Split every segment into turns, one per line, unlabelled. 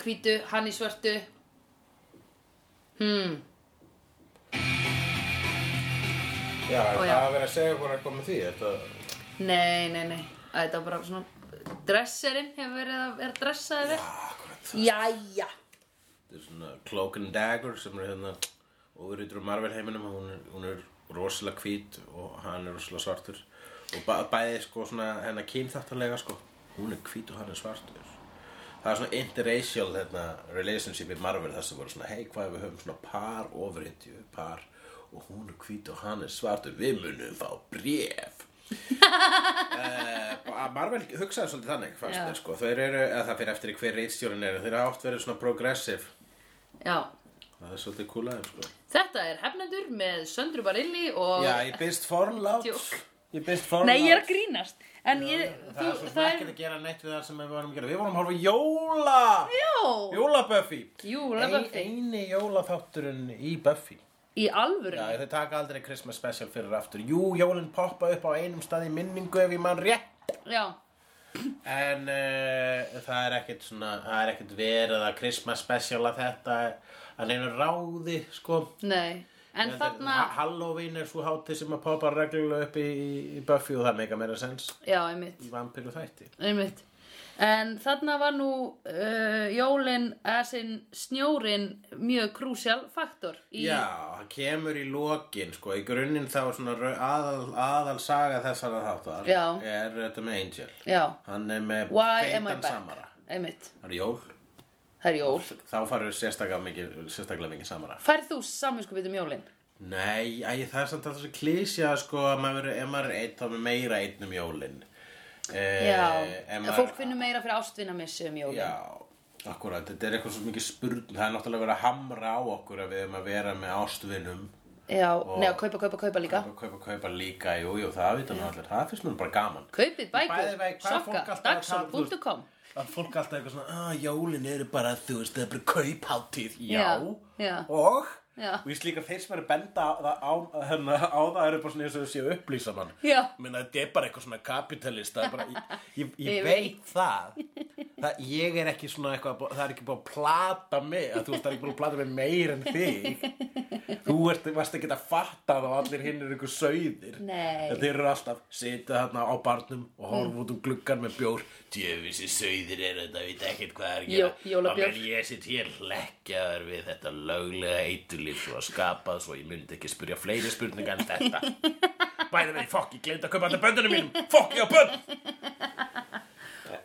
hvítu, hann í svörtu Hmm,
Já, er
Ó,
það
já.
að vera að segja hvað er að koma með því, þetta...
nei, nei, nei Æ, Þetta var bara svona Dresserinn hefur verið að vera dressaði vel
Akkurat.
Jæja
Þetta er svona Cloak and Dagger sem er hérna óverítur á Marvel heiminum, hún er, hún er rosalega hvít og hann er rosalega svartur. Og ba bæði sko svona hennar kynþáttalega sko, hún er hvít og hann er svartur. Það er svona interracial hérna, relationship í Marvel þar sem voru svona, hei hvað ef við höfum svona par ofurhetju, par og hún er hvít og hann er svartur, við munum fá bréf. Eh, að Marvel hugsaði svolítið þannig fast,
Já.
yeah. sko. þeir eru, eða það fyrir eftir í hver reitstjórinn eru, þeir hafa oft verið svona progressive
Já,
það er svolítið kúlaðið sko.
þetta er hefnendur með Söndru Barilli og
já, ég byrst forlátt
Djók.
ég byrst forlátt
Nei, ég er að grínast En ég,
það er
þú,
svo
það
snakkið
er
að gera neitt við það sem við vorum að gera við vorum að horfa á jóla
Já,
jólabuffy
Jólabuffy.
Ein, eini jólaþátturinn í Buffy
í alvöru
já, þau taka aldrei Christmas special fyrir aftur jú, jólinn poppa upp á einum stað í minningu ef ég mann rétt
Já,
En uh, það er ekkert svona, það er ekkert verið að Christmas special að þetta að neina ráði, sko.
nei En
Þetta-
þarna,
Ha- Halloween er svo hátíð sem að poppa reglulega upp í, í Buffy og það meika meira sens
já, einmitt
í vampiru þætti.
Einmitt. En þarna var nú uh, jólin, eða sinn snjórin mjög krúsjál faktor í
Já, það kemur í lokin, sko, í grunninn þá er svona rau- aðal, aðal saga þessara þáttar
Já.
er þetta með Angel.
Já.
Hann er með
Why am I back?
samara.
Einmitt.
Það er jól,
Það er jól.
þá farur sérstaklega mikið, sérstaklega mikið samara.
Færð þú samvinskupið um jólin?
Nei, æ, það er samt alltaf svo klísja sko að maður, ef maður er einn þá er maður meira einn um jólin eh,
já.
ef
Fólk finnur meira fyrir ástvinamissi um jólin.
Já, akkurat, þetta er eitthvað svo mikið spurn Það er náttúrulega verið að hamra á okkur að við erum að vera með ástvinum
Já. Nei, að kaupa, kaupa, kaupa líka.
Kaupa, kaupa, kaupa líka, jú, jú, það vita nú allir Það finnst mér bara gaman
Kaupið
Bæði
bækur,
veg, hvað er fólk
sokka,
alltaf að tala- um
dagsson.com
Að fólk alltaf eitthvað svona, að jólin eru bara, þú veist, það er bara kauphátíð Já,
Já, já.
og
Já.
Og ég slíka þeir sem eru að benda á, það- á, hérna, á það eru bara svona eins og þau séu upplýsa mann
Já.
Menna, þetta er bara eitthvað svona kapitalist það er bara, ég, ég,
Ég
ég veit það. það Ég er ekki svona eitthvað bú- Það er ekki búið að plata mig að Þú veist, það er ekki búið að plata mig meir en þig Þú ert, varst ekki að fatta það og allir hinn eru einhver sauðir
Nei.
En Þeir eru alltaf sitja þarna á barnum og horfa út um gluggan með bjór Djöfisir sauðir eru þetta, veit ekkert hvað er að gera
Jó- jólabjór.
Á meðan ég sitt hér lekkjaður við þetta löglega eiturlíf og skapað svo ég myndi ekki spyrja fleiri spurninga en þetta Bæði veginn, fokk, ég glemt að kaupa allir böndunum mínum Fokk, ég á bönd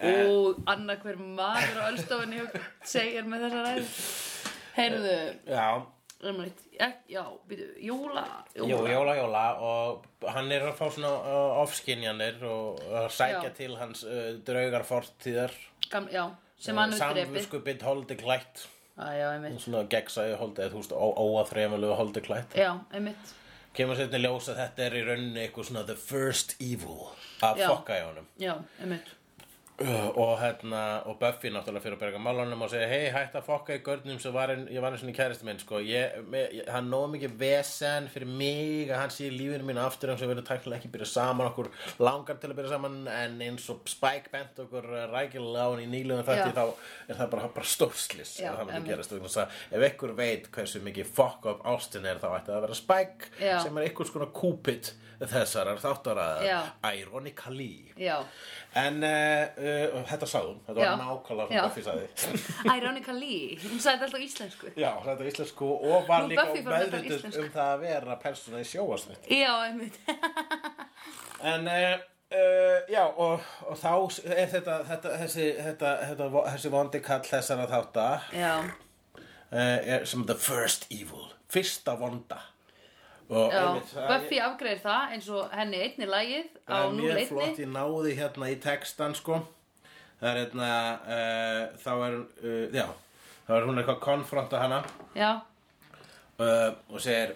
Eh.
Ú, annað hver maður á ölstofunni segir með þessa ræði. Heyrðu,
Já,
einmitt, ek- já, býtu, jóla,
jú, jóla, jóla og hann er að fá svona uh, ofskinjanir og að sækja
Já.
til hans uh, draugar fortíðar
Gamla, já, sem
Eh,
hann er drefið.
Samvöskupið holdi klætt
Já, já, einmitt.
Svona gegnsæði holdi, eða þú veist, óaþremulegu holdi klætt
Já, einmitt.
Kemur sérna í ljós að þetta er í rauninni eitthvað svona the first evil að
Já.
fokka í honum
Já, einmitt.
Uh, og hérna, og Buffy náttúrulega fyrir að berga málunum og segja, hei, hætt að fokka í görnum sem var ein, ég var eins og í kæristi minn, sko ég, me, ég, hann nóg mikið vesen fyrir mig að hann sé í lífinu mínu aftur eins og við erum tæknilega ekki byrja saman okkur langar til að byrja saman en eins og Spike bent okkur uh, rækilega á hann í nýlegum
Já.
þætti þá er það bara, bara stórslis
Já,
það
emmitt.
myndi gerast vegna þess að ef einhver veit hversu mikið fokk up ástin er þá ætti það að vera Spike
Já.
sem er einhvers konar kúpit þessarar
Já.
þáttaraðar ironically
Já.
En uh, uh, þetta sagði hún, þetta
Já.
var
Já.
nákvæmlega svona Buffy sagði.
Ironically, hún sagði þetta alltaf á íslensku.
Já, þetta er íslensku og var
Nú,
líka
Buffy fór að tala
meðvituð
íslensku.
um það að vera persóna í sjóasnitt.
Já, einmitt.
En uh, uh, já, og, og þá er þetta, þetta, þessi, þetta, þetta, vo- þessi vondi kall þessara þátta uh,
Já,
er sem the first evil, fyrsta vonda. Og
já.
einmitt, það-
Buffy afgreir það eins og henni einni lagið á
Það er mjög flott,
0-1.
ég náði hérna í textan sko Það er hérna, uh, þá er, uh, já, þá er hún eitthvað að konfronta hana
Já,
uh, og segir,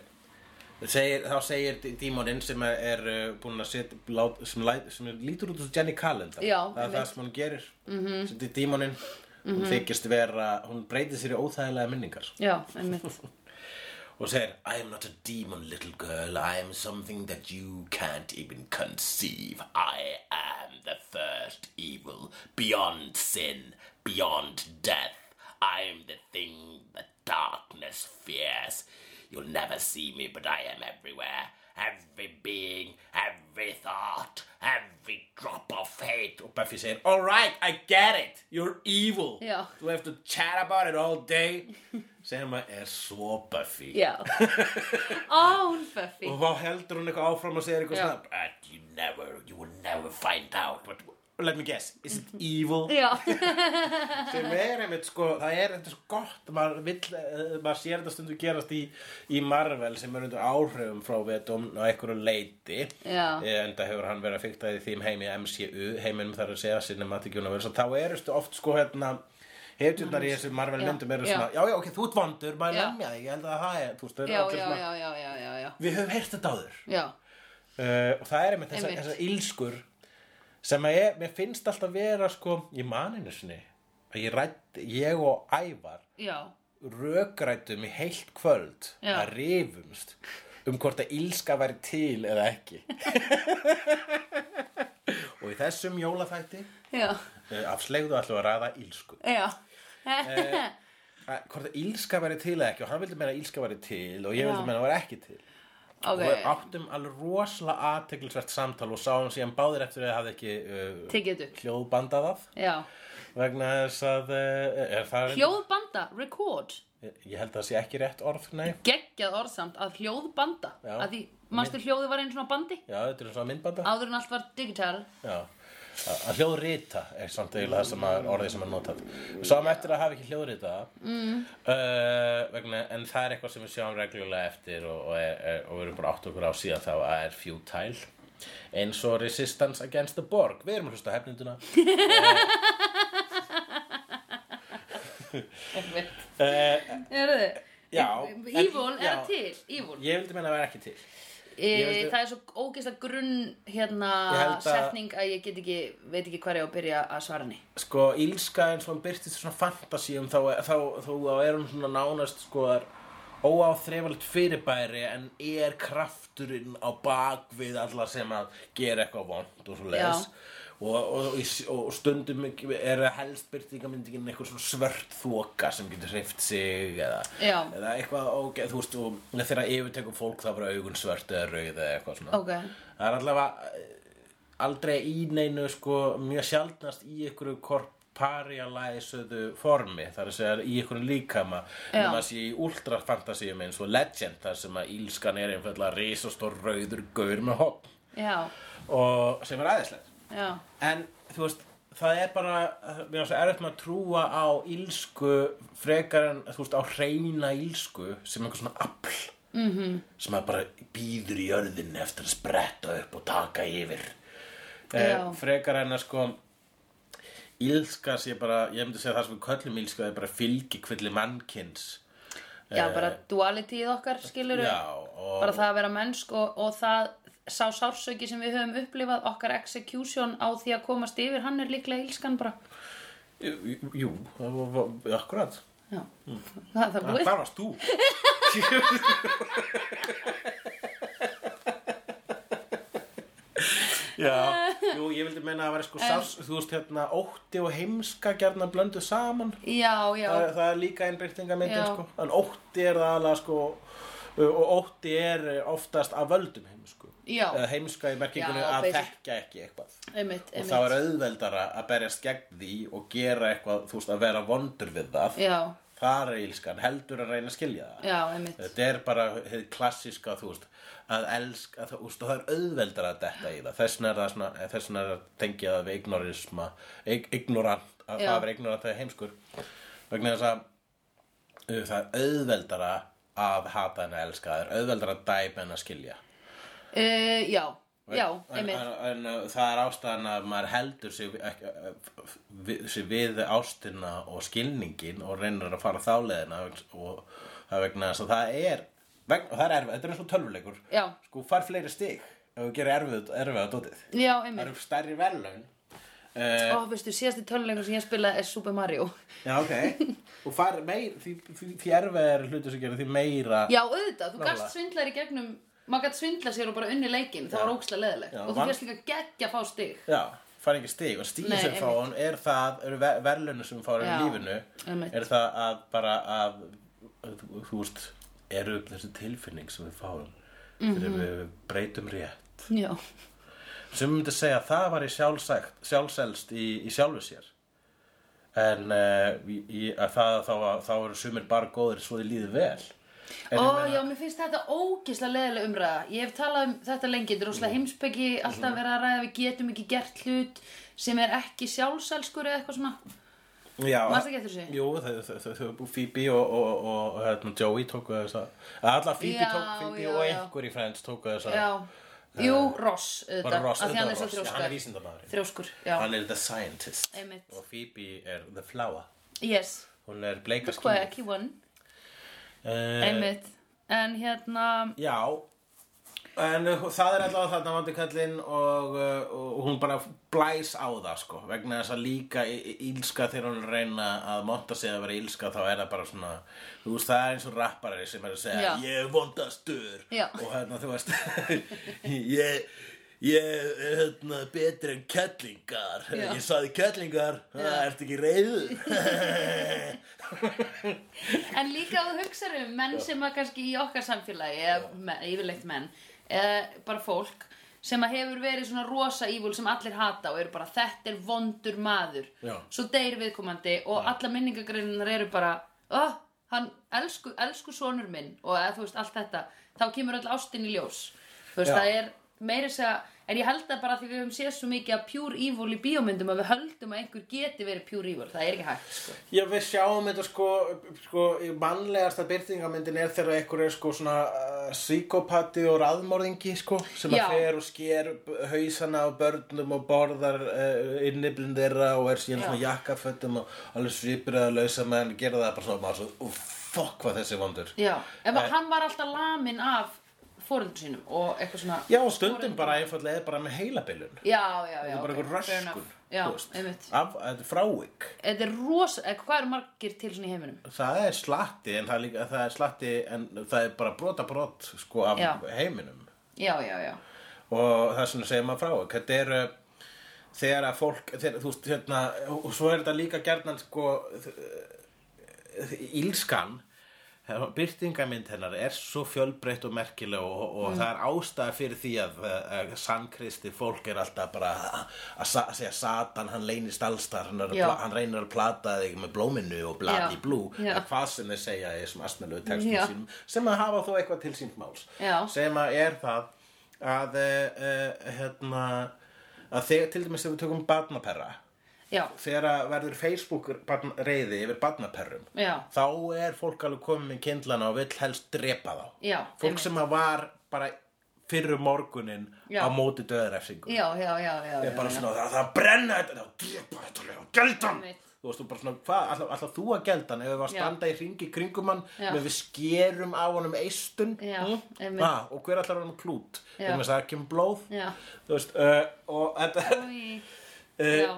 segir, þá segir dí- dímoninn sem er, er uh, búin að setja, lát- sem, læt- sem er, lítur út úr Jenny Calendar,
Já,
það
einmitt.
er
Mhm.
það sem hún gerir, mm -hmm. sem þetta er dímoninn, hún þykist vera, hún breytir sér í óþægilega minningar
já, einmitt.
og segir I am not a demon little girl I am something that you can't even conceive I am the first evil beyond sin, beyond death
I'm the thing the darkness fears. You'll never see me, but I am everywhere. Every being, every thought, every drop of hate.
Og Buffy segir, all right, I get it, you're evil.
Já.
You have to chat about it all day. Sem að er svo Buffy.
Já. Ó, hún Buffy.
Og þá heldur hún eitthvað áfram að segja eitthvað
Já.
svona, "But you never, you will never find out, but let me guess, is it evil?
Mm. Já.
sem er einmitt sko, það er þetta er svo gott maður, vill, eh, maður sér þetta stundu gerast í, í Marvel sem er undir áhrifum frá vetum á einhverju leiti
Já.
en það hefur hann verið að fykta í þeim heimi MCU, heiminum þar að segja Cinematic Universe og þá eru stu oft sko hérna Hefðjurnar í þessu Marvel
Já,
myndum eru
já.
svona, já, já, ok, þú ert vondur, maður
Já.
lemja þig, ég held að það er, þú veist, þau eru
Já,
allir
já,
svona,
já, já, já, já, já.
við höfum heyrt þetta áður.
Já.
Uh, og það er einmitt þessar
Einmitt.
þessa ílskur sem að ég, mér finnst alltaf vera sko, ég man einu sinni að ég rætt, ég og Ævar
Já.
rökrættum í heilt kvöld
Já.
að rifumst um hvort að ílska væri til eða ekki og í þessum jólaþætti
Já.
uh, af slegðu ætlum við að ræða ílsku
Já.
Að hvort að ílska væri til eða ekki og hann vildi meina að ílska væri til og ég
Já.
vildi meina að væri ekki til og við
Ok.
áttum alveg rosalega aðteglisvert samtal og sáum síðan báðir eftir að það hafði ekki uh,
Tekið upp.
hljóðbandað af
Já.
vegna þess að uh, er það
Hljóðbanda, record.
ég held að það sé ekki rétt orð, nei
Geggjað orðsamt að hljóðbanda.
Já.
Að því, manstu hljóði var einn svona bandi?
já, þetta er svona myndbanda
Áður en allt var digital.
já. að að hljóðrita er samt eiginlega það sem að orðið sem er notað sáum eftir að hafa ekki hljóðrita mm. uh, vegna, en það er eitthvað sem við sjáum reglulega eftir og, og, er, er, og við erum bara átt okkur á síðan þá að það er futile eins og resistance against the borg við erum að hlusta á hefninduna
Einmitt.
uh,
Eru þið?
Já,
Evil
en-
er
já.
til. Evil.
ég vildi meina að vera ekki til Ég
E,
veit-
það er svo ógeðsla grunn hérna
Ég held að-
setning að ég get ekki, veit ekki hvað ég á að byrja að svara henni.
sko, ílska eins og hann byrtist í svona fantasíum þá, þá, þá, þá er hún svona nánast sko þar óáþrefald fyrirbæri en er krafturinn á bak við alla sem að gera eitthvað vond og svo leis
Já.
og, og, og, í- og stundum er það helst byrtingamyndingin einhver svona svört þoka sem getur hreift sig eða,
Já.
eða eitthvað og þú veist og þegar yfirtekum fólk þá verður augun svört eða rauð eða eitthvað svona
Ok.
það er allavega eh, aldrei í neinu sko mjög sjaldnast í einhverju korparialæsuðu formi þar að segja í einhverju líkama
Já.
nema sé í ultrafantasíum eins og legend þar sem að ílskan er einfallega risastór rauður gaur með hopp
Já,
og sem er aðeinslega
já,
en þú veist það er bara, mér finnst það erfitt með að trúa á ílsku frekar en þú veist á hreina ílsku sem einhver svona afl mm -hmm. sem að bara býður í örðinni eftir að spretta upp og taka yfir Eh,
Já.
frekar en að sko ílska sé bara, ég myndi segja það sem við köllum ílska það er bara fylgi kvilli mannkins
já, bara dualityð okkar skilur
Eh, Já, og-
bara það að vera mennsk og, og það sá sársauki sem við höfum upplifað okkar execution á því að komast yfir hann er líklega ílskan bara
jú, jú, það var- var- akkurat
já,
Hmm.
það, það er búið
Þar varst þú Já, jú, ég vildi meina að vera sko sárs, þú veist hérna ótti og heimska gjarnan blöndu saman
já, já,
það, það er líka einbyrtinga myndin
Já.
sko en ótti er það alveg sko og ótti er oftast af völdum heimsku
Já.
Eða heimska í merkingunni
Já,
að
basic.
þekka ekki eitthvað
einmitt,
Eh, og
einmitt
það er auðveldara að berjast gegn því og gera eitthvað, þú veist, að vera vondur við það
já,
þar er ílskan heldur að reyna að skilja það
já, einmitt
þetta er bara hið klassíska þú veist, að elska þú veist, og það er auðveldar að detta í það þess vegna er það svona, þess vegna er að tengja það við ignorisma, ig- ignorant að
Já.
það verið ignorant eða heimskur vegna þess að uh, það er auðveldara að hata en að elska, það er auðveldara að dæma en að skilja
uh, já, já,
en,
einmitt
en, en uh, það er ástæðan að maður heldur sig, ekki, uh, við, sig við ástina og skilningin og reynir að fara þáleðina og það er vegna þess að það er vegna, og það er erfið, þetta er eins og tölvuleikur
Já.
sko far fleiri stig ef þú gerir erfið, erfið að dótið
já,
það
einmitt
eru stærri verðlaun uh,
Ó, veistu, síðasti töluleikur sem ég spilaði er Super Mario
já ok og far meir, því, því, því erfið er hlutur sem gerir því meira
Já, auðvitað, þú
Nákvæmlega.
gast svindlar í gegnum maður gætt svindla sér og bara unni leikin, það var ókslega leðilegt
Já,
og þú
vann-
fyrst líka geggja að fá stig
Já, fara ekki stig og stigin
Nei,
sem fá
einmitt.
hann er það, eru ver verðlunum sem fá hann í
Já,
lífinu
einmitt.
er það að bara að þú, þú veist, eru þessi tilfinning sem við fáum
Mhm.
þegar við breytum rétt
Já,
sem myndi segja að það var í sjálfsækt, sjálfselst í, í sjálfu sér en uh, í, í, að það, þá, þá eru sumir bara góðir svo þið líður vel
ó
en, ég meina-
já, mér finnst þetta ógislega leðilega umræða Ég hef talað um þetta lengi, þetta er rosalega
Mhm.
heimspeki Alltaf verið að ræða, við getum ekki gert hlut sem er ekki sjálfselskur eða eitthvað svona
já,
Manstu ekki eftir þessu?
Jú, þau- þau- þau- þau- Phoebe og, og, og, og hérna, Joey tóku þess að allar Phoebe
Já,
tók Phoebe
já,
og
já.
einhver í Friends tóku þess að
Já, jú, Ross
Eh, bara
auðvitað,
Ross,
af því hann
auðvitað
er svo
Ross, já, hann er
þrjóskur
vísindamaður
Þrjóskur, já,
hann er the scientist
Einmitt.
og Phoebe er the flower
yes
hún er bleika
Hvað
skýr
ekki one,
uh,
einmitt En hérna,
Já En uh, það er allavega þarna vandi kallinn og, uh, og hún bara blæs á það sko vegna þess að líka í- í- ílska þegar hún er að reyna að monta sig að vera ílska þá er það bara svona þú veist það er eins og rapparari sem er að segja
Já.
ég er vondastur
Já.
og hérna þú veist ég, ég er hérna betri en kettlingar
Já.
ég saði kettlingar það
Já.
ert ekki reyður
En líka að hugsa um menn sem að kannski í okkar samfélagi eða menn, yfirleitt menn eða bara fólk sem að hefur verið svona rosa ívul sem allir hata og eru bara þetta er vondur maður
Já.
svo deyr viðkomandi og ja. alla minningagreinar eru bara oh, hann elsku, elsku sonur minn og eða, þú veist allt þetta þá kemur öll ástin í ljós þú veist
Já.
það er meiri þess að en ég held að bara því við höfum séð svo mikið að pure evil í bíómyndum að við höldum að einhver geti verið pure evil það er ekki hægt sko.
Já, við sjáum þetta sko, sko mannlegasta byrtingamyndin er þegar einhver er sko svona uh, psíkopati og raðmorðingi sko sem
Já.
að fer og sker b- hausana á börnum og borðar uh, inniblinn þeirra og er síðan
Já.
svona jakkafötum og alveg svipur eða lausa menn gera það bara svona bara svo, "Úff, fokk hvað þessi vandur
Já, ef
Eh,
að hann var alltaf lamin af fóreldur sínum og eitthvað svona
Já, og stundum bara einfallega er bara með heilabilun
Já, já, já
Það er bara
ok,
einhver
fair enough.
röskun
Já,
þú veist,
einmitt
af, Þetta er frávik
Þetta er rosa, eh, hvað eru margir til svona í heiminum?
Það er slatti en það er, líka, það er slatti en það er bara brota brot sko af
Já.
heiminum
Já, já, já
og það er svona segir maður frá þetta er uh, þegar að fólk þegar, þú veist hérna og svo er þetta líka gerðan sko uh, ílskan byrtingamind hennar er svo fjölbreytt og merkileg og, og
Mm.
það er ástæða fyrir því að, að sannkristi fólk er alltaf bara að, sa- að segja Satan, hann leynist allstar hann, er að
Já.
pla- hann reynir að plata þig með blóminu og bladi
Já.
blú
Já.
eða hvað sem þeir segja í þessum astmjölu textum
Já.
sínum sem að hafa þó eitthvað til sínt máls
Já.
sem að er það að uh, uh, hérna að þegar til dæmis þegar við tökum barnaperra
Já,
þegar að verður Facebook barn, reyði yfir barnaperrum
já,
þá er fólk alveg komið með kindlana og vill helst drepa þá
Já,
fólk
einmitt.
sem að var bara fyrru morgunin
Já.
á móti döðrefsingu
já, já, já, já,
Það
já,
er bara
já.
svona, það, það brenna þetta, það drepa þetta lega, geldan
Einmitt.
Þú veist, þú bara svona, hvað, alltaf, alltaf þú að geldan ef við var að
Já.
standa í ringi kringum hann
Já.
með við skerum á honum eistun
Já, einmitt.
ah, og hver allar honum klút
Já.
vegna þess að það kemur blóð
Já.
þú veist, uh, og þetta
Új,
uh,
Já.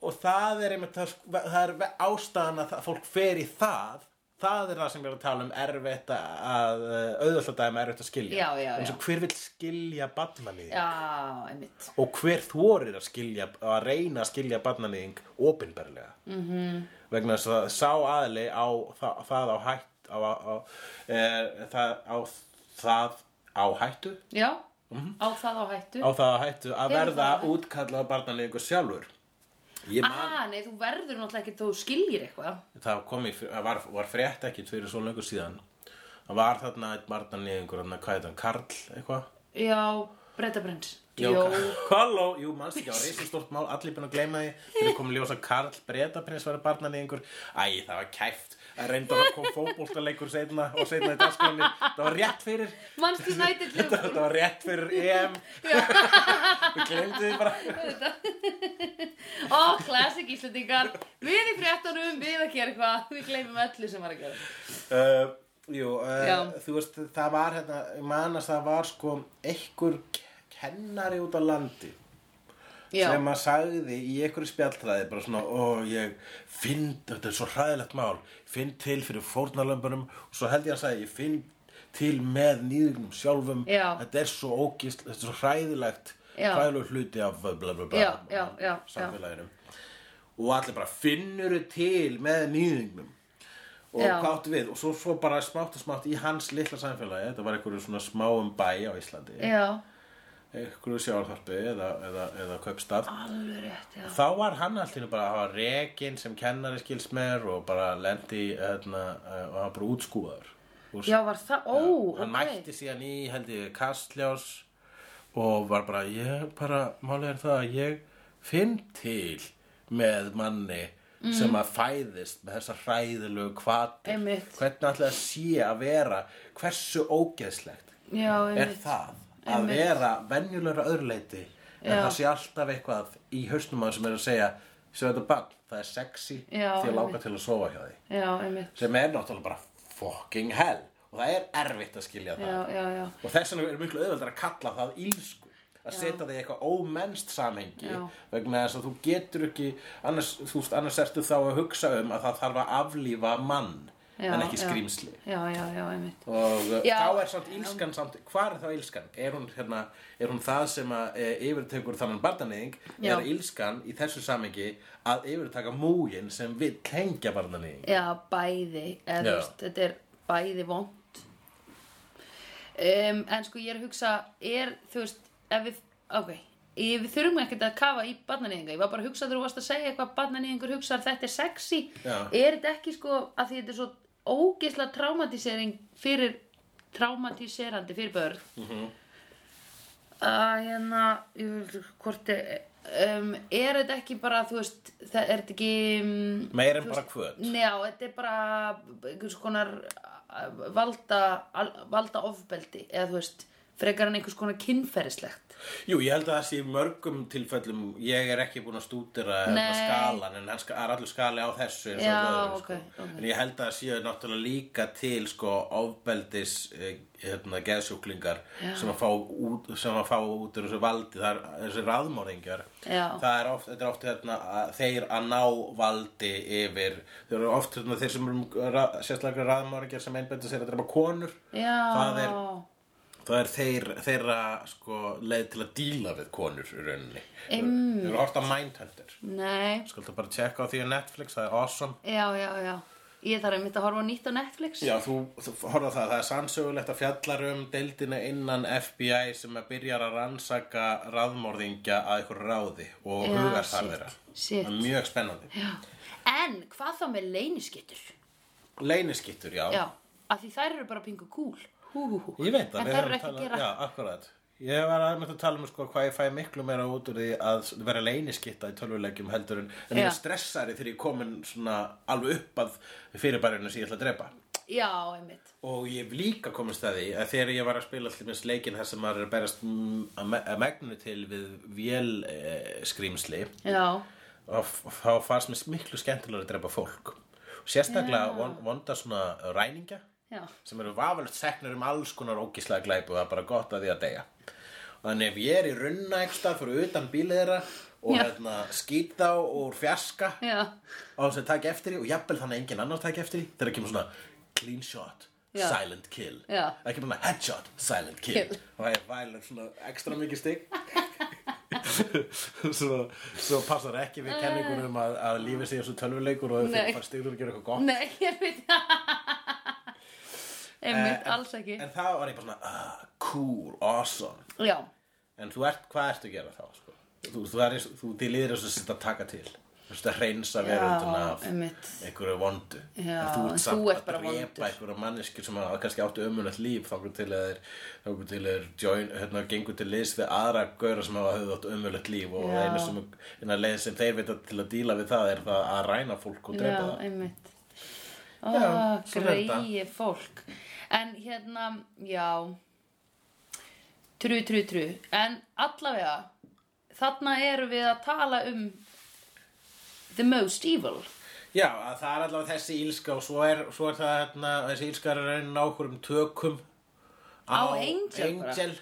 og það er einmitt það, sko, það er ástæðan að það, fólk fer í það það er það sem við erum að tala um erfitt að auðvöldlega með erfitt að skilja
Já, já,
eins
já.
og hver vill skilja badmanið
já, einmitt
og hver þorir að skilja að reyna að skilja barnaníðing opinberlega -hmm.
Mhm.
vegna þess að sá aðli á það, það á hætt á, á, á, e, það, á það á hættu
Já, á það á hættu
Mhm. á það á hættu að
Hefur
verða
það á hættu?
útkallað barnaníðingu sjálfur ég man,
Ah, nei, þú verður náttúrulega ekki þú skiljir eitthvað
það kom í, það var, var frétt ekkit fyrir svo lengur síðan það var þarna eitt barnaníðingur þarna, hvað heit hann, Karl eitthvað
Já, breyta brins
Jó, halló, jú, mannst ekki, það var reisastórt mál, allir byrja að gleyma því, þegar kom ljósa Karl Bretaprins var að barna neyðingur, æ, það var kæft, að reynda að kom fótboltaleikur seinna og seinna í dagskránni, það var rétt fyrir,
Manstu nættið
þetta, þetta var rétt fyrir EM, við glemdi því bara,
Ó, classic íslendingar Við í fréttunum, við að gera eitthvað Við gleymum öllu sem var að gera
uh, jú,
Já.
uh, þú veist, það var hérna, ég man að það var sko einhver kennari út á landi,
Já,
sem að sagði í einhverju spjalltræði bara svona, ó ég finn, þetta er svo hræðilegt mál finn til fyrir fórnarlömbunum og svo held ég að sagði, ég finn til með nýðugnum sjálfum
Já.
þetta er svo ógist, þetta er svo hræðilegt
Já.
hræðilegu hluti af bla, bla, bla,
Já, já, já, já.
samfélaginu og allir bara finnur til með nýðingnum og
Já.
hvað áttu við og svo, svo bara smátt og smátt í hans litla samfélagi þetta var einhverju svona smáum bæ á Íslandi
já,
einhverju sjálfarpi eða, eða, eða kaupstað
alveg rétt, já.
þá var hann alltaf bara að hafa rekin sem kennari skilsmer og bara lendi hérna, eh, og hann bara útskúðaður úr
Já, var það, ó,
hann
ok.
mætti síðan í hendi kastljás og var bara ég bara, málið er það að ég finn til með manni sem að fæðist með þessa hræðilegu kvati
Mm. Einmitt.
hvernig ætlaði að sé að vera hversu ógeðslegt
Já,
er
einmitt.
það að vera venjulegra öðruleiti en
Já.
það sé alltaf eitthvað í hausnum að sem er að segja sem þetta bann, það er sexy
Já,
því að
einmitt.
láka til að sofa hjá því
Já, einmitt.
sem er náttúrulega bara fucking hell og það er erfitt að skilja það
Já, já, já.
og þess vegna er miklu auðveldar að kalla það ílsku að setja þig í eitthvað ómennst samhengi
Já.
vegna þess að þú getur ekki annars, þú veist, annars ertu þá að hugsa um að það þarf að aflífa mann
Já,
en ekki
já.
skrýmsli
Já, já, já, einmitt.
og uh,
Já.
þá er samt ílskan samt, hvar er þá ílskan? Er hún, hérna, er hún það sem að e, yfirtekur þannan barnanýðing
Já.
eða er ílskan í þessu samhengi að yfirtaka múgin sem vill hengja barnanýðing
Já, bæði, eða þú
Já.
veist, þetta er bæði vond. Um, en sko, ég er að hugsa, er, þú veist, ef við, ok, ég, við þurfum ekkert að kafa í barnanýðinga. Ég var bara að hugsa þegar þú varst að segja hvað barnanýðingur hugsa, þetta er sexy.
Já.
Er þetta ekki sko, að því þetta er svo ógeðslega traumatisering fyrir, traumatiserandi fyrir börn.
Mhm.
að hérna ég vil hvort um, er þetta ekki bara þú veist það er þetta ekki um,
meir en bara hvöt
njá, þetta er bara einhvers konar uh, valda, al, valda ofbeldi eða þú veist frekar en einhvers konar kynferðislegt
Jú, ég held að það sé í mörgum tilfellum ég er ekki búin að stúdira hérna,
Nei.
skalan en hann ska, er allur skali á þessu eins og
Já,
öðru,
ok,
sko.
ok.
en ég held að það séu náttúrulega líka til sko ofbeldis eh, hérna, geðsjúklingar sem að, fá út, sem að fá út úr þessu valdi þar, þessu raðmóringjar
Já.
það er oft, þetta er oft hérna, að, þeir að ná valdi yfir þeir eru oft hérna, þeir sem eru ra, sérstaklega raðmóringjar sem einbæta sér að drepa konur
já,
það er Það er þeir, þeirra sko, leið til að díla við konur í rauninni.
Einmitt.
Þeir eru orta Mindhunter.
nei
Skulta bara tjekka á því á Netflix, það er awesome.
já, já, já ég þarf einmitt að horfa á nýtt á Netflix
Já, þú, þú horfa það, það er sannsögulegt að fjallar um deildina innan FBI sem að byrjar að rannsaka raðmorðingja að ykkur ráði og
Já,
hugar þar
shit,
þeirra.
shit.
Það er mjög spennandi.
Já. en hvað þá með leyniskyttur
Leyniskittur, já.
já, af því þær eru bara pingu cool hú, hú, hú.
Ég veit það.
en
við
þær
höfum
eru ekki að
talað-
gera
Já, akkurat. Ég var aðeins að tala um sko, hvað ég fæ miklu meira út úr því að vera leyniskitta í tölvulegjum heldur en, en ég
Já.
er stressari þegar ég er komin svona alveg upp að fyrirbærinu sem ég ætla að drepa.
já, einmitt
Og ég hef líka komist að því að þegar ég var að spila allir minns leikinn þar sem maður er að berast mm, að me- að megnu til við vél eh, skrýmsli
já,
og f- þá fannst mér miklu skemmtilega að drepa fólk. Sérstaklega von- vonda svona ræningja
já
sem eru vafalegt seknur um alls konar ógislega glæpu og það er bara gott að því að deyja þannig ef ég er í runna einhvers stað fyrir utan bílið þeirra og
Já.
hérna, skýt þá úr fjarska
Já,
á þess að taka eftir því og jafnvel þannig að enginn annar taka eftir því þegar kemur svona clean shot
Já.
silent kill
Já.
það kemur svona headshot silent kill,
Kill.
og það er vælir svona ekstra mikið stygg svo, svo passar ekki við kenningunum að, að lífið sé þessu tölvuleikur og
Nei.
þeir fara styggur að gera eitthvað gott
nei, ég veit Einmitt,
Eh, en-
alls ekki
En það var ég bara svona, ah, cool, awesome
Já,
En þú ert, hvað ertu að gera þá? Sko? Þú, þú, er, þú til yfir þessu sitt að taka til Þú veist að reynsa verönduna af
einmitt.
einhverju vondu
Já,
En þú
en
ert
þú
samt
ert bara
að
vondur.
drepa einhverja manneskjur sem að kannski áttu ömulegt líf þangur til að þeir, þangur til að þeir join, hérna, gengur til liðs við aðra gauðra sem hafa höfðu átt ömulegt líf og
Já.
einu sem, eina leið sem þeir veit til að díla við það er það að ræna fólk og drepa
já,
það
einmitt
Já,
Ó,
svo er þetta.
greið fólk En hérna, já Tru, tru, tru En allavega Þarna erum við að tala um The most evil
Já, að það er allavega þessi ílska og svo er, svo er það hérna, þessi ílska er raunin á okkur um tökum
Á Angel bara.
Angel.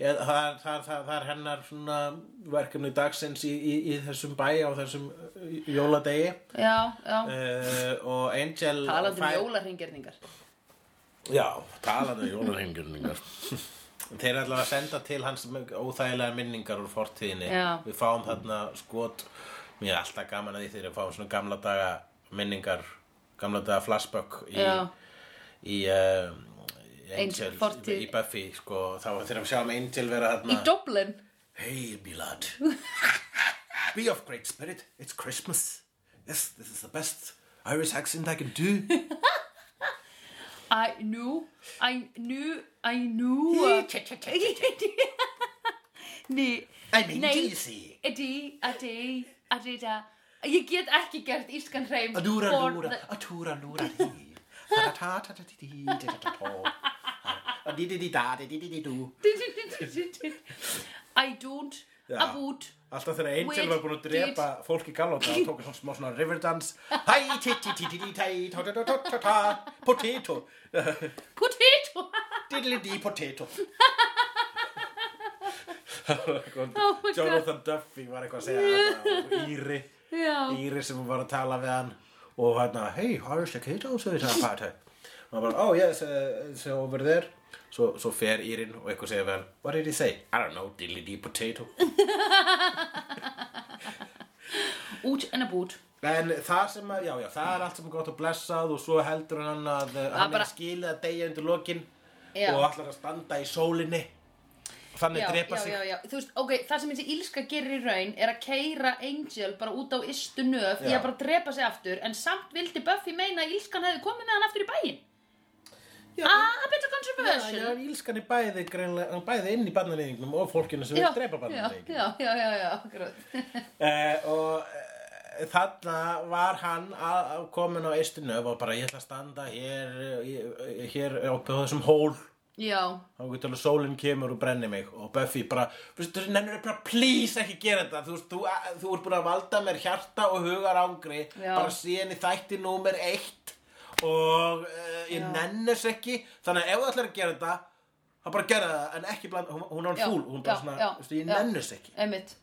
Ég, það, er, það, er- það, það er hennar svona verkefni dagsins í, í, í þessum bæ á þessum eh, jóladegi
Já, já
uh, og Angel
Talandi um
fær-
jólarhingerningar
Já, talandi um jólarhengjörningar En þeir ætlaðu að senda til hans óþægilega minningar úr fortíðinni.
Já.
Við fáum þarna skot, mér er alltaf gaman að því þegar við fáum svona gamla daga minningar, gamla daga flashback í,
Já.
í uh,
Angel,
Angel,
fortíð.
í Buffy, sko, þá þegar við sjáum Angel vera
Í
þarna.
Dublin
Hail, me lad. Be of great spirit. It's Christmas. Yes, this is the best Irish accent I can do.
I knew I knew I knew uh, Ný
I mean,
Nei.
Jeezy.
Adi, adi, adi da Ég get ekki gert ískan hreim
Adúra,
for
lúra,
the-
atúra, lúra, dí. Ta-ta-ta-ta-ta-tí, ta-ta-ta-tó. Di-di-di-da-di-di-di-di-dú.
I don't
Já.
about
Alltaf þegar Angel
Which
var búin að drepa fólk í gamla daga, tók hann smá svona riverdance. Hæ, ti-ti-ti-ti-ti-tæ, ta-ta-ta-ta-ta, potato,
potato
diddly-di-potato.
Oh my God.
Jonathan Duffy var eitthvað að segja þetta og Íri,
Já.
Íri sem var að tala við hann og hérna, hey, Irish Akito, so it's a party. Og hann bara, oh yes, uh, it's over there. Svo, svo fer Írin og eitthvað segir við hann, what did he say? I don't know, dilly dee potato.
Út en about
En það sem að, já, já, það er allt sem er gott og blessað og svo heldur hann að uh, hann
bara-
er skilið að deyja undir lokin
Já.
og allar að standa í sólinni. Þannig
já,
drepa
já,
sig.
já, já. Þú veist, ok, það sem þessi ílska gerir í raun er að keira Angel bara út á ystu nöf í
Já.
að bara drepa sig aftur en samt vildi Buffy meina að ílskan hefði komið með hann aftur í bæinn
Já,
Ah, a bit of
Já,
controversial
já, ílskan er bæði, greinlega, bæði inn í barnareiningnum og fólkinu sem vil drepa barnareiningnum.
já, já, já, já, akkurat
Eh, og eh, þarna var hann að, að komin á eistunöf og bara ég ætla að standa hér, eh, hér opið á þessum hól
Já,
þá getur alveg sólinn kemur og brennir mig og Buffy bara, veistu, nennur bara please ekki gera þetta, þú veist, þú, þú ert búin að valda mér hjarta og hugar ángri
Já.
bara síðan í þætti númer eitt og uh, ég nennis ekki, þannig að ef þú ætlar að gera þetta þá bara gera það, en ekki bland, hún, hún er
Já,
fúl, hún bara
já,
svona,
já,
veistu, ég
já.
nennis ekki
einmitt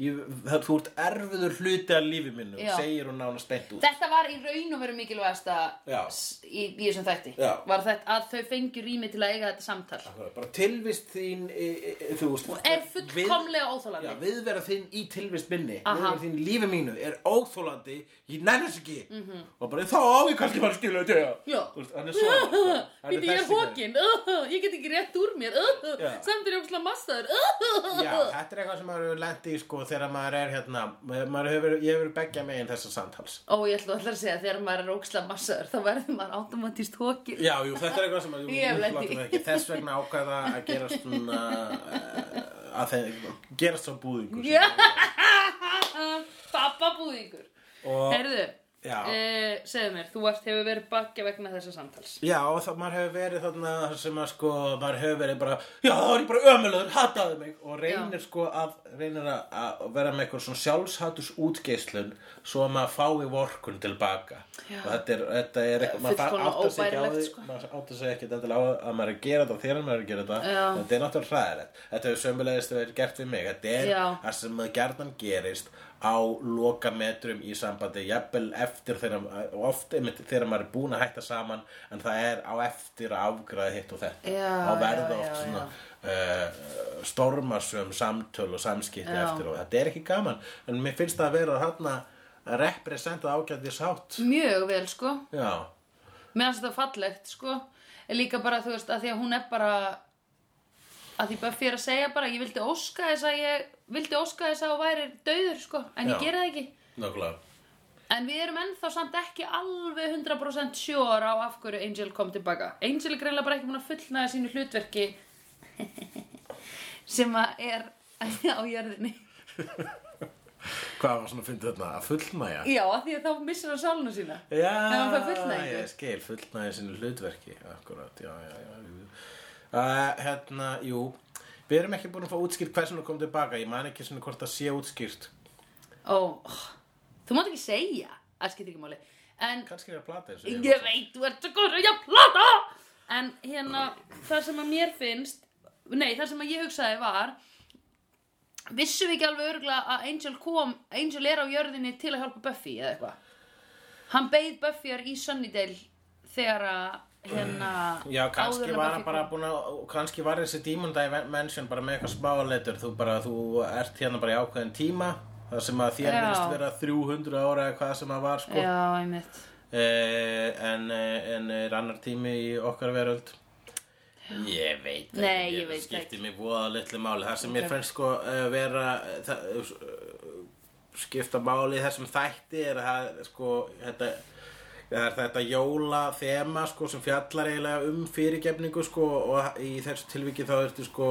Ég, það, þú ert erfiður hluti af lífi minnu,
Já.
segir hún nánast beint út.
Þetta var í raun og veru mikilvægasta
Já.
s- í, í þessum þætti
Já.
Var þetta að þau fengju rými til að eiga þetta samtal
Akkurat, Bara tilvist þín, e, e, e, þú veist,
Er fullkomlega
Við, já,
óþólandi
viðvera þín í tilvist minni,
Aha.
viðvera þín í lífi mínu er óþólandi, ég nennast ekki. -hmm. Og bara þá á ég kannski bara skilu að döga.
Mhm. Já.
Þú veist, hann er svona. hann
Býtti ég er
þessi gaur.
hókin, ég get ekki rétt úr mér, uh,
Já.
samt er ég ógslag massaður, uh,
Já, þetta er eitthvað sem maður hefur lent í sko þegar maður er hérna, maður hefur, ég hefur beggja megin þessa samtals.
Ó, ég ætla alltaf að segja að þegar maður er ógslag massaður þá verður maður automatist hókin.
Já, jú, þetta er eitthvað sem að jú,
Ég hef
jú,
lent í.
látum það ekki. Þess vegna ákvæða að gerast svona eh, að þeir gerast svo búðingur sem-
Já, pappabúðingur.
og
Herðu,
já,
uh, segðu mér, þú varst hefur verið bakja vegna þessa samtals.
já og það maður hefur verið þarna sem að sko maður hefur verið bara já þá er ég bara ömulöður, hataðu mig og reynir sko að reynir að, að vera með eitthvað svona sjálfshatus útgeislun svo að maður fái vorkun tilbaka
Já.
og þetta er, þetta er eitthvað maður þarf
Fullkomlega
átt að segja á
óbærilegt,
því
sko.
maður átt að segja ekki þetta á að maður er að gera þetta þegar maður er að gera þetta
Já.
þetta er náttúrulega hræðilegt þetta er sömulegist að vera gert við mig þetta er
Já.
það sem maður gerðan gerist á lokametrum í sambandi jafnvel eftir þegar oft einmitt þegar maður er búin að hætta saman en það er á eftir að afgræða hitt og þetta
Já,
og verða
já,
oft
já,
svona Uh, stormarsum samtöl og samskipti
Já.
eftir og þetta er ekki gaman en mér finnst það að vera þarna að representa ágæðis hátt
Mjög vel, sko.
já,
Mér finnst þetta fallegt, sko. En Líka bara, þú veist, að því að hún er bara, að því bara fyrir að segja bara, ég vildi óska þess að ég, vildi óska þess að hún væri döður, sko, en ég
Já.
gera það ekki.
nokkulega
En við erum ennþá samt ekki alveg 100% sjór á af hverju Angel kom tilbaka. Angel er greinlega bara ekki búin að fullnaða sínu hlutverki sem að er á jörðinni.
Hvað var svona að fyndi þarna? Að fullnæja?
Já, af því að þá missir hann sáluna sína.
Já,
Ef hann fær fullnægingu.
ég skil, fullnæja sinni hlutverki, akkurat, já, já, já. jú. Uh, hérna, jú, við erum ekki búin að fá útskýrt hversu hún kom tilbaka, ég man ekki svona hvort það sé útskýrt.
Ó, ó, þú mátt ekki segja, það skiptir ekki máli. En
Kannski er að plata þessu.
ég veit, þú ert svo góður, ég plata! En hérna, það sem að mér finnst, nei, það sem að ég hugsaði var, vissum við ekki alveg örgulega að Angel kom, Angel er á jörðinni til að hjálpa Buffy eða eitthvað. Hann beið Buffyar í Sunnydale þegar að hérna
Já,
áður
kannski
en
var
Buffy
hann bara
kom.
búin að, kannski var þessi Demon Dimension bara með eitthvað smáleitur, þú bara, þú ert hérna bara í ákveðin tíma, það sem að þér
Já.
minnst vera 300 ára eða hvað sem að var, sko,
Já, einmitt
eh, en, eh, en er annar tími í okkar veröld. Ég veit ekki,
Nei, ég veit
skipti
ekki.
mig voða litlu máli, það sem mér finnst sko eh, vera, eh, það, eh, skipta máli í þessum þætti er að það, sko, þetta, Það er þetta jóla þema sko, sem fjallar eiginlega um fyrirgefningu sko, og í þessu tilviki þá ertu sko,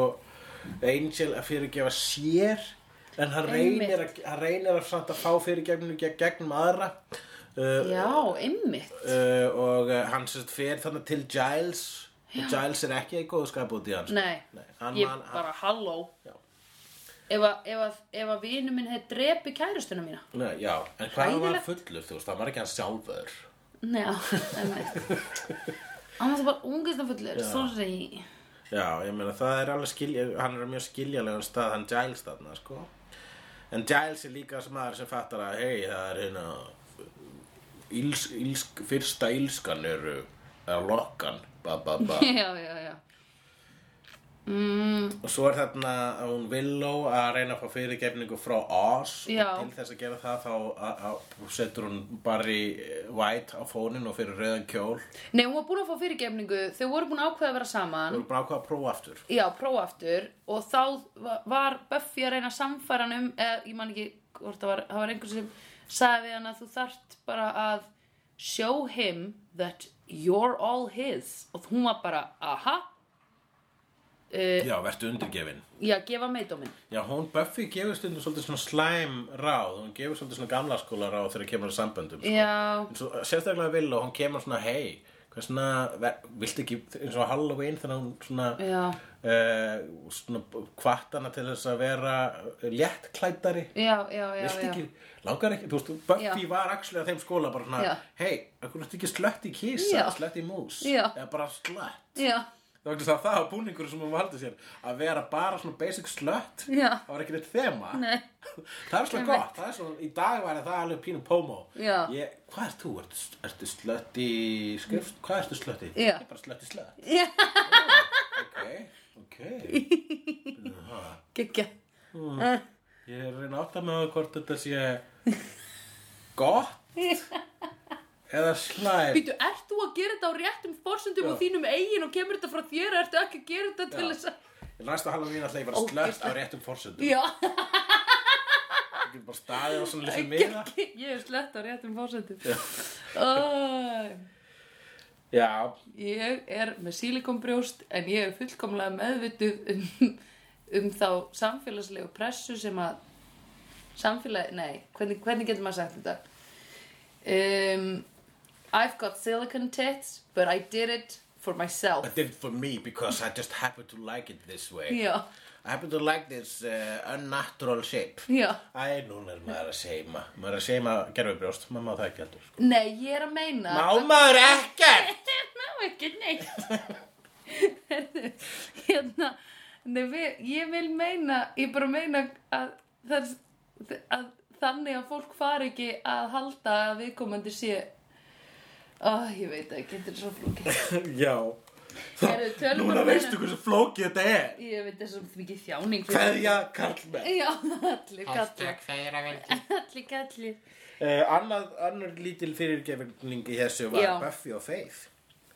Angel að fyrirgefa sér en hann
Einmitt.
reynir, að, hann reynir að, samt að fá fyrirgefningu gegn, gegnum aðra uh,
Já, einmitt
uh, og uh, hann sérst fer þannig til Giles og Giles er ekki í góðu skap út í hans
Nei,
Nei, hann-
ég
hann-
bara halló
Já.
Ef að, ef að, ef að vinu minn hefði drepi kærustuna mína
Nei, Já, en hvað hann var
Hræðilegt.
fullur þú veist, hann var ekki hann sjálfur
Nei, já, einmitt Hann var það bara ungisnafullur, sorry
Já, ég meina það er alveg skilja, hann er á mjög skiljalegum stað, hann Giles þarna, sko. En Giles er líka sem maður sem fattar að, hei, það er hérna, íls, íls, fyrsta ílskan eru, er lokkan, ba ba ba.
Já, já, já mm,
og svo er þarna hún Willow að reyna að fá fyrirgefningu frá Oz
Já.
og til þess að gera það þá að- að- setur hún Barry eh, White á fónin og fyrir rauðan kjól.
Nei, hún var búin að fá fyrirgefningu Þau voru búin að ákveða að vera saman
Hún er bara ákvað að prófa aftur.
Já, prófa aftur og þá va- var Buffy að reyna að sannfæra hann um eða ég man ekki hvort það var, það var einhver sem sagði við hann að þú þart bara að show him that you're all his og hún var bara, aha
Já, vertu undirgefin.
já, gefa meidóminn
Já, hún Buffy gefur stundum svolítið svona slæm ráð, hún gefur svolítið svona gamla skóla ráð þegar kemur að samböndum. sko.
Já,
En Svo, sérstaklega vil og hún kemur svona, hei, hvað svona, ver- viltu ekki, eins og á Halloween þannig að hún svona,
já,
uh, svona kvartana til þess að vera léttklædari.
já, já, já,
Viltu
já.
ekki, langar ekki, þú veist, Buffy
Já.
var axlið að þeim skóla bara svona,
Já.
hei, akkur ertu ekki slött í kísa,
Já.
slött í mús,
Já.
eða bara slött.
já,
Það var ekki það, það var búningur sem hún valdi sér að vera bara svona basic slött
Já.
það var ekki neitt þema
Nei.
það er svona gott, það er svona, í dag væri það alveg pínum pómó
Já.
ég, hvað ert þú, ertu, ertu slött í skrift, hvað ertu slött í
Já.
ég er bara slött í slött
já,
ok, ok ég
gekkja
er að reyna að átta með það hvort þetta sé gott
Eh.
eða slæm
Býtu, ert þú að gera þetta á réttum forsendum og þínum eigin og kemur þetta frá þér og ertu ekki að gera þetta til
Já.
þess að
næsta halvvín að þeir bara slött á réttum forsöndum
Já,
ég er bara staðið á svona litlu miða
ég er slett á réttum forsendum Æ,
já,
Ég er með sílikonbrjóst en ég er fullkomlega meðvituð um, um þá samfélagslegu pressu sem að samfélag, nei, hvernig, hvernig getur maður sagt þetta? Um, I've got silicon tits but I did it for myself
I did it for me because I just happen to like it this way.
Já,
I happen to like this uh, unnatural shape.
já
Æ, núna er maður að seima. Maður er að seima gerfubrjóst, maður má það ekki heldur. Sko.
Nei, ég er að meina
Má maður ekkert!
Ná, ekki neitt Herðu, hérna nei, við, ég vil meina ég bara meina að, það, að þannig að fólk fari ekki að halda að viðkomandi sé Ó, ég veit ekki, þetta er svo flókið
Já,
Herðu, tölum
núna
bara meira-
veistu hversu flókið þetta er.
Ég veit þetta er svo mikið þjáning fyrir-
Kveðja, karlmenn.
Já, allir kalli
feira veldi.
Allir kalli
Uh, annað, annar lítil fyrirgefning í þessu var
Já.
Buffy og Faith.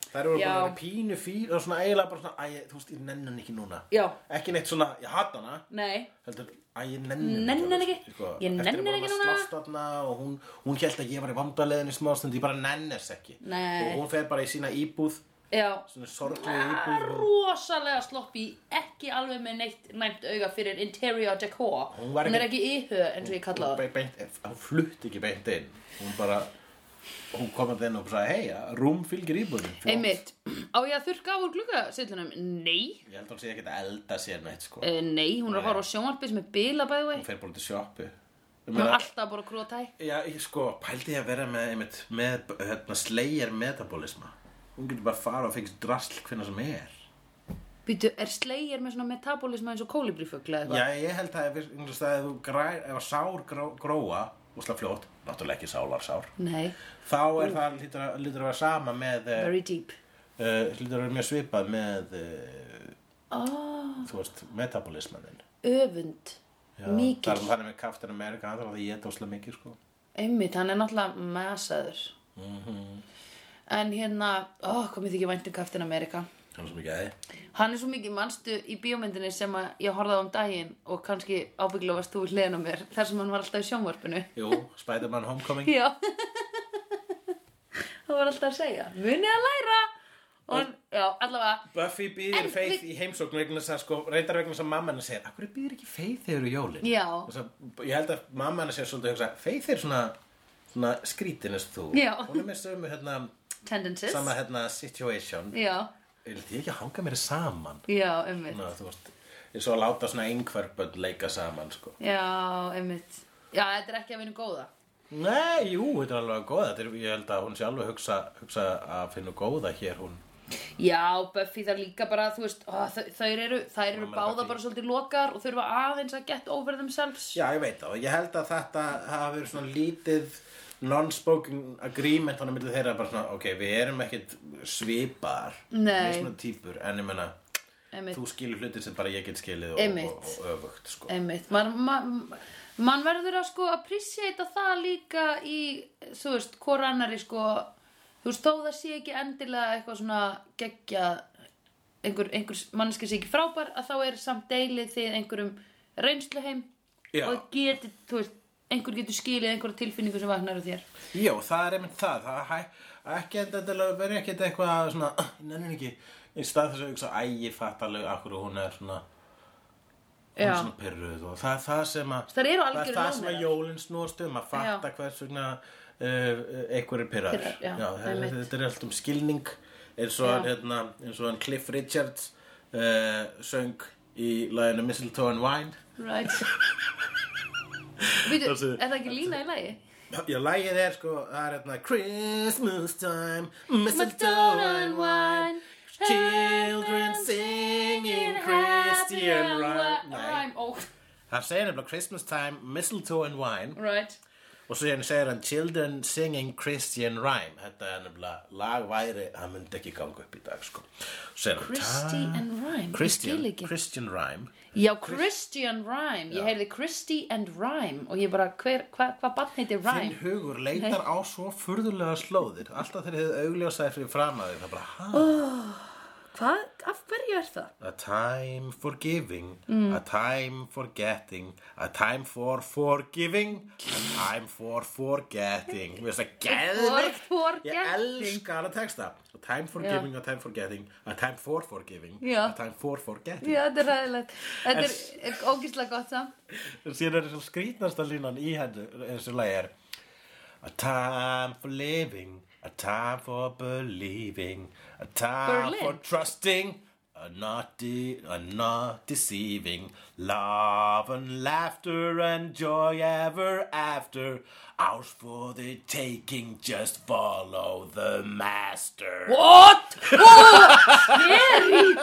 Þær voru
Já.
bara pínu fýr og svona eiginlega bara svona, æ, ég- þú veist, ég nenni hann ekki núna.
Já,
Ekki neitt svona, ég hata hana.
nei,
heldur, að ég nenni
Nenni henni ekki.
sko,
Ég nenni henni ekki
eftir að
núna.
bara slást þarna og hún, hún held að ég var í vandaleðin í smástund, ég bara nenni þess ekki
Nei.
og hún fer bara í sína íbúð
já
svona sorglegu
Ah,
íbúð
rosalega sloppi ekki alveg með neitt næmt auga fyrir interior decor
Hún
hún,
var
er
ekki-
ekki íhö eins og ég kalla
Hún
það
be- beint, eh, hún flutt ekki beint inn hún bara, hún kom að þenn og sagði hei, rúm fylgir íbúðin Flott.
einmitt, á ég að þurrka á úr glugga sillunum, nei
ég held að hún sé ekki að elda sér neitt sko.
uh, nei, hún er að
Nei.
fara á sjónvarpi sem er bila bæði vei
hún
hún
fer bara til sjoppu
er
Ég meina-
alltaf bara að króa tæ
Já, ég sko, pældi ég að vera með, einmitt, með hérna, slegjar metabolisma hún getur bara að fara og fengst drasl hvernig sem er
býtu, er slegir með svona metabolisma eins og kólibrifugla eða
Já, ég held að ef, þú veist, að þú græ, ef að sár gró, gróa úsla fljótt, náttúrulega ekki sálar sár
eitthvað nei,
þá er það lítur að, lítur að vera sama með eh,
very deep
uh, hlýtur að vera mjög svipað með uh,
oh,
þú veist, metabolismaninn
öfund
Já,
mikil,
þar- Þannig með Captain America, hann þarf að ég dósla mikið sko
einmitt, hann er náttúrulega masaður
Mhm.
en hérna, ó, komið þið ekki vænt um Captain America
Hann er svo mikið aði
hann er svo mikið mannstu í bíómyndinni sem að ég horfði á um daginn og kannski ábyggilega varst þú hliðin á mér þar sem hann var alltaf í sjónvarpinu
Jú, Spider-Man Homecoming
já hann var alltaf að segja munið að læra og hann, já, allavega
Buffy
En
býðir Faith
við-
í heimsókn vegna þess að sko, reyndar vegna þess að mamma henni segir Akkur býðir ekki Faith þegar eru jólin?
Já.
Þess að ég held að mamma henni segir svolítið að hugsa Faith er svona, svona skrítin eins og þú
Já.
Hún er með sömu hérna,
tendencies
sama hérna situation
já,
Vildi ég ekki að hanga mér saman?
já, einmitt
Ná, þú veist, ég svo að láta svona einhverfbönd leika saman sko
já, einmitt já, þetta er ekki að vinna góða
Nei, jú, þetta er alveg góða Þetta er, Ég held að hún sé alveg hugsa, hugsa að finna góða hér hún
Já, Buffy þar líka bara, þú veist, ó, þau, þau eru, þær eru
Mamma er
báða
Buffy.
bara svolítið lokar og þurfa aðeins að get over themselves.
Já, ég veit það og ég held að þetta hafa verið svona lítið non-spoken agreement þannig myndið þeirra bara svona, ok, við erum ekkit svipar
Nei.
mismunandi típur, en ég menna
Einmitt.
þú skilur hlutir sem bara ég get skilið og,
Einmitt.
og, og öfugt, sko
Einmitt, mann man, man verður að sko appreciata það líka í, þú veist, hvora annari sko, þú veist, þó það sé ekki endilega eitthvað svona geggja, einhver, einhver manneski sé ekki frábær, að þá er samt deilið þið einhverjum reynsluheim
Já.
og geti, þú veist, einhver getur skilið einhverja tilfinningu sem vaknar á þér.
Jó, það er einmitt það, það hæ, ekki endilega verið ekkit eitthvað svona, nennin ekki í stað þess að hugsa, æ, ég fatt alveg akkur og hún er svona hún er
Já.
svona pyrruð og það er það sem að
Þær eru
það er
algjörir
það sem
lánarar.
að jólinn snúast um að fatta hvers vegna uh, einhver er pyrrar
Pirrar, já,
þetta,
einmitt.
þetta er allt um skilning eins og, hann, hérna, eins og hann Cliff Richards uh, söng í laginu Mistletoe and Wine
Right Býtu,
Það sé-
er það ekki lína í lagi?
Já, lagið er sko, það er hérna Christmas time, mistletoe and wine Children singing Christian rhyme Nei,
Rhyme, oh,
það segir nefnilega Christmas time, mistletoe and wine
right
Og svo hérna segir hann Children singing Christian rhyme Þetta er nefnilega lagværi Það myndi ekki ganga upp í dag sko Sér,
Christy and Rhyme, ég skil
Christian,
ekki
Christian rhyme
Já, Christian Rhyme, ég heyrði Christy and Rhyme og ég bara, hver, hva, hvað bann heitir
Þinn
Rhyme?
hugur leitar á svo furðulega slóðir Alltaf þegar þið augljósaði fyrir fram að þér Það bara, ha?
Hvað, af hverju er það?
A time for giving A time for getting A time for forgiving A time for forgetting Mér finnst það geðveikt
For
Ég
forgetting.
elska hana texta A time for
Já.
giving, a time for getting A time for forgiving
Já.
A time for forgetting
Já, þetta er ræðilegt Þetta er, er ógíslega gott samt
Síðan er þessu skrýtnasta línan í hennu Þessu lagi er A time for living A time for believing A time
Berlin.
for trusting A not, de a not deceiving Love and laughter and joy ever after Ours for the taking Just follow the master
What? What? Scary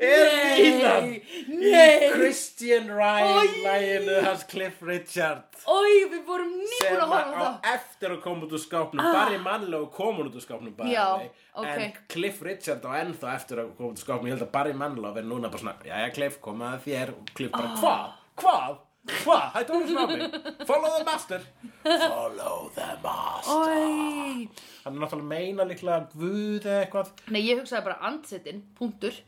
Er línan
Nei, nei
Christian Ryan
Oj.
Læginu hans Cliff Richard
Ói, við vorum
sem
nýbúin að
var
horfa á
á
það
eftir að koma út úr skápnum ah. Barry Manilow kom hún út úr skápnum bara,
Já,
nei.
ok.
en Cliff Richard á ennþá eftir að koma út úr skápnum ég held að Barry Manilow verði núna bara svona jæja Cliff, koma að þér og Cliff
Ah.
bara hvað, hvað, hvað, hættu hún skápni follow the master follow the master
Oi.
hann er náttúrulega að meina líklega guð eða eitthvað
Nei, ég hugsaði bara andsetin, punktur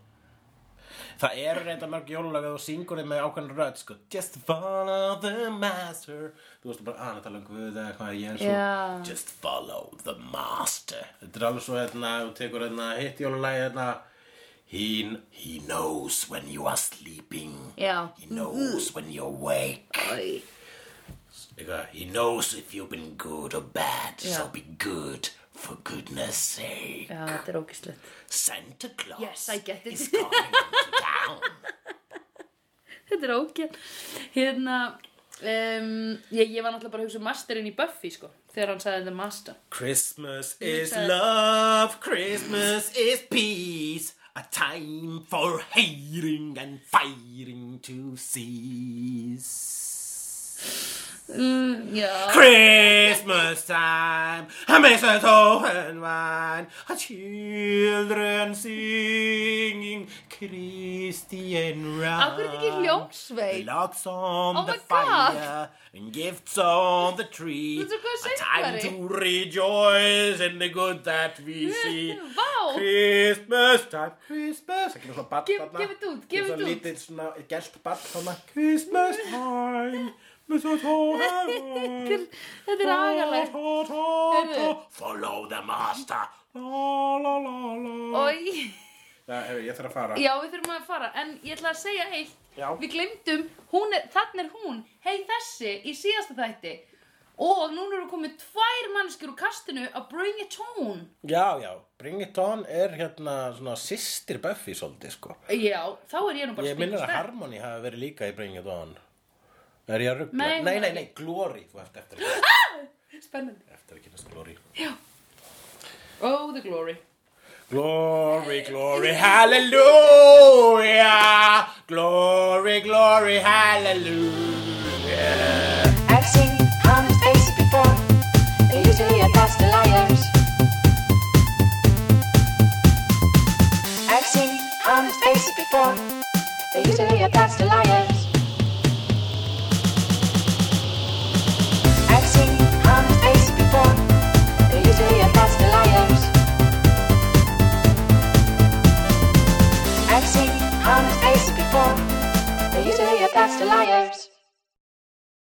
það eru reynda mörg jólulag að þú syngur þig með ákveðan rödd sko just follow the master þú veist bara að tala um guð eða hvað ég er svo
Já.
just follow the master þetta er alveg svo hérna þú tekur hérna hitt jólulagi hérna he, he knows when you are sleeping
Já.
he knows when you're awake
Oi.
Eitthvað, he knows if you've been good or bad so
Já.
be good for goodness sake
Já, þetta er ógislegt
Santa Claus
Yes, I get it.
is coming to town
Þetta er ógislegt Hérna, um, ég, ég var náttúrulega bara að hugsa um masterinn í Buffy, sko Þegar hann sagði The Master
Christmas is
said-
love, Christmas is peace, a time for hating and fighting to cease.
Mm, já.
Christmas time, a mistletoe and wine, a children singing Christian rhyme.
Akkur er þetta ekki hljómsveit?
Logs on
Oh
the
my God.
fire and gifts on the tree.
Þetta er góð
A time
söngvari.
to rejoice in the good that we see.
Vá.
Christmas time, Christmas. Ekki náttúrulega barn
Gef-
þarna.
gefið þetta út, gefið
Svo
þetta út.
lítið svona gælt barn þarna. Christmas time, mistletoe and wine.
Þetta er agalegt. Heyrðu.
Follow the master La la la la
Oj.
Það, hefur, ég þarf að fara.
Já, við þurfum að fara, en ég ætla að segja eitt.
Já.
Við glemdum, hún er, þannig er hún, hei þessi, í síðasta þætti. Og núna eru komið tvær mannskjur úr kastinu að bring it home.
Já, já, Bring It On er hérna svona sýstir Buffy svolítið sko.
Já, þá er ég nú bara
Ég minnir að
spíkstæð.
Harmony hafi verið líka í Bring It On. Er ég að ruggla?
Nei,
nei,
nei.
nei, nei, Glory, þú ert eftir að
Spennandi.
eftir að kynast Glory.
Oh, the glory.
Glory, glory, hallelujah Glory, glory, hallelujah
I've seen honest faces before. They're usually a pass to liars. I've seen honest faces before. They're usually a pass to liars.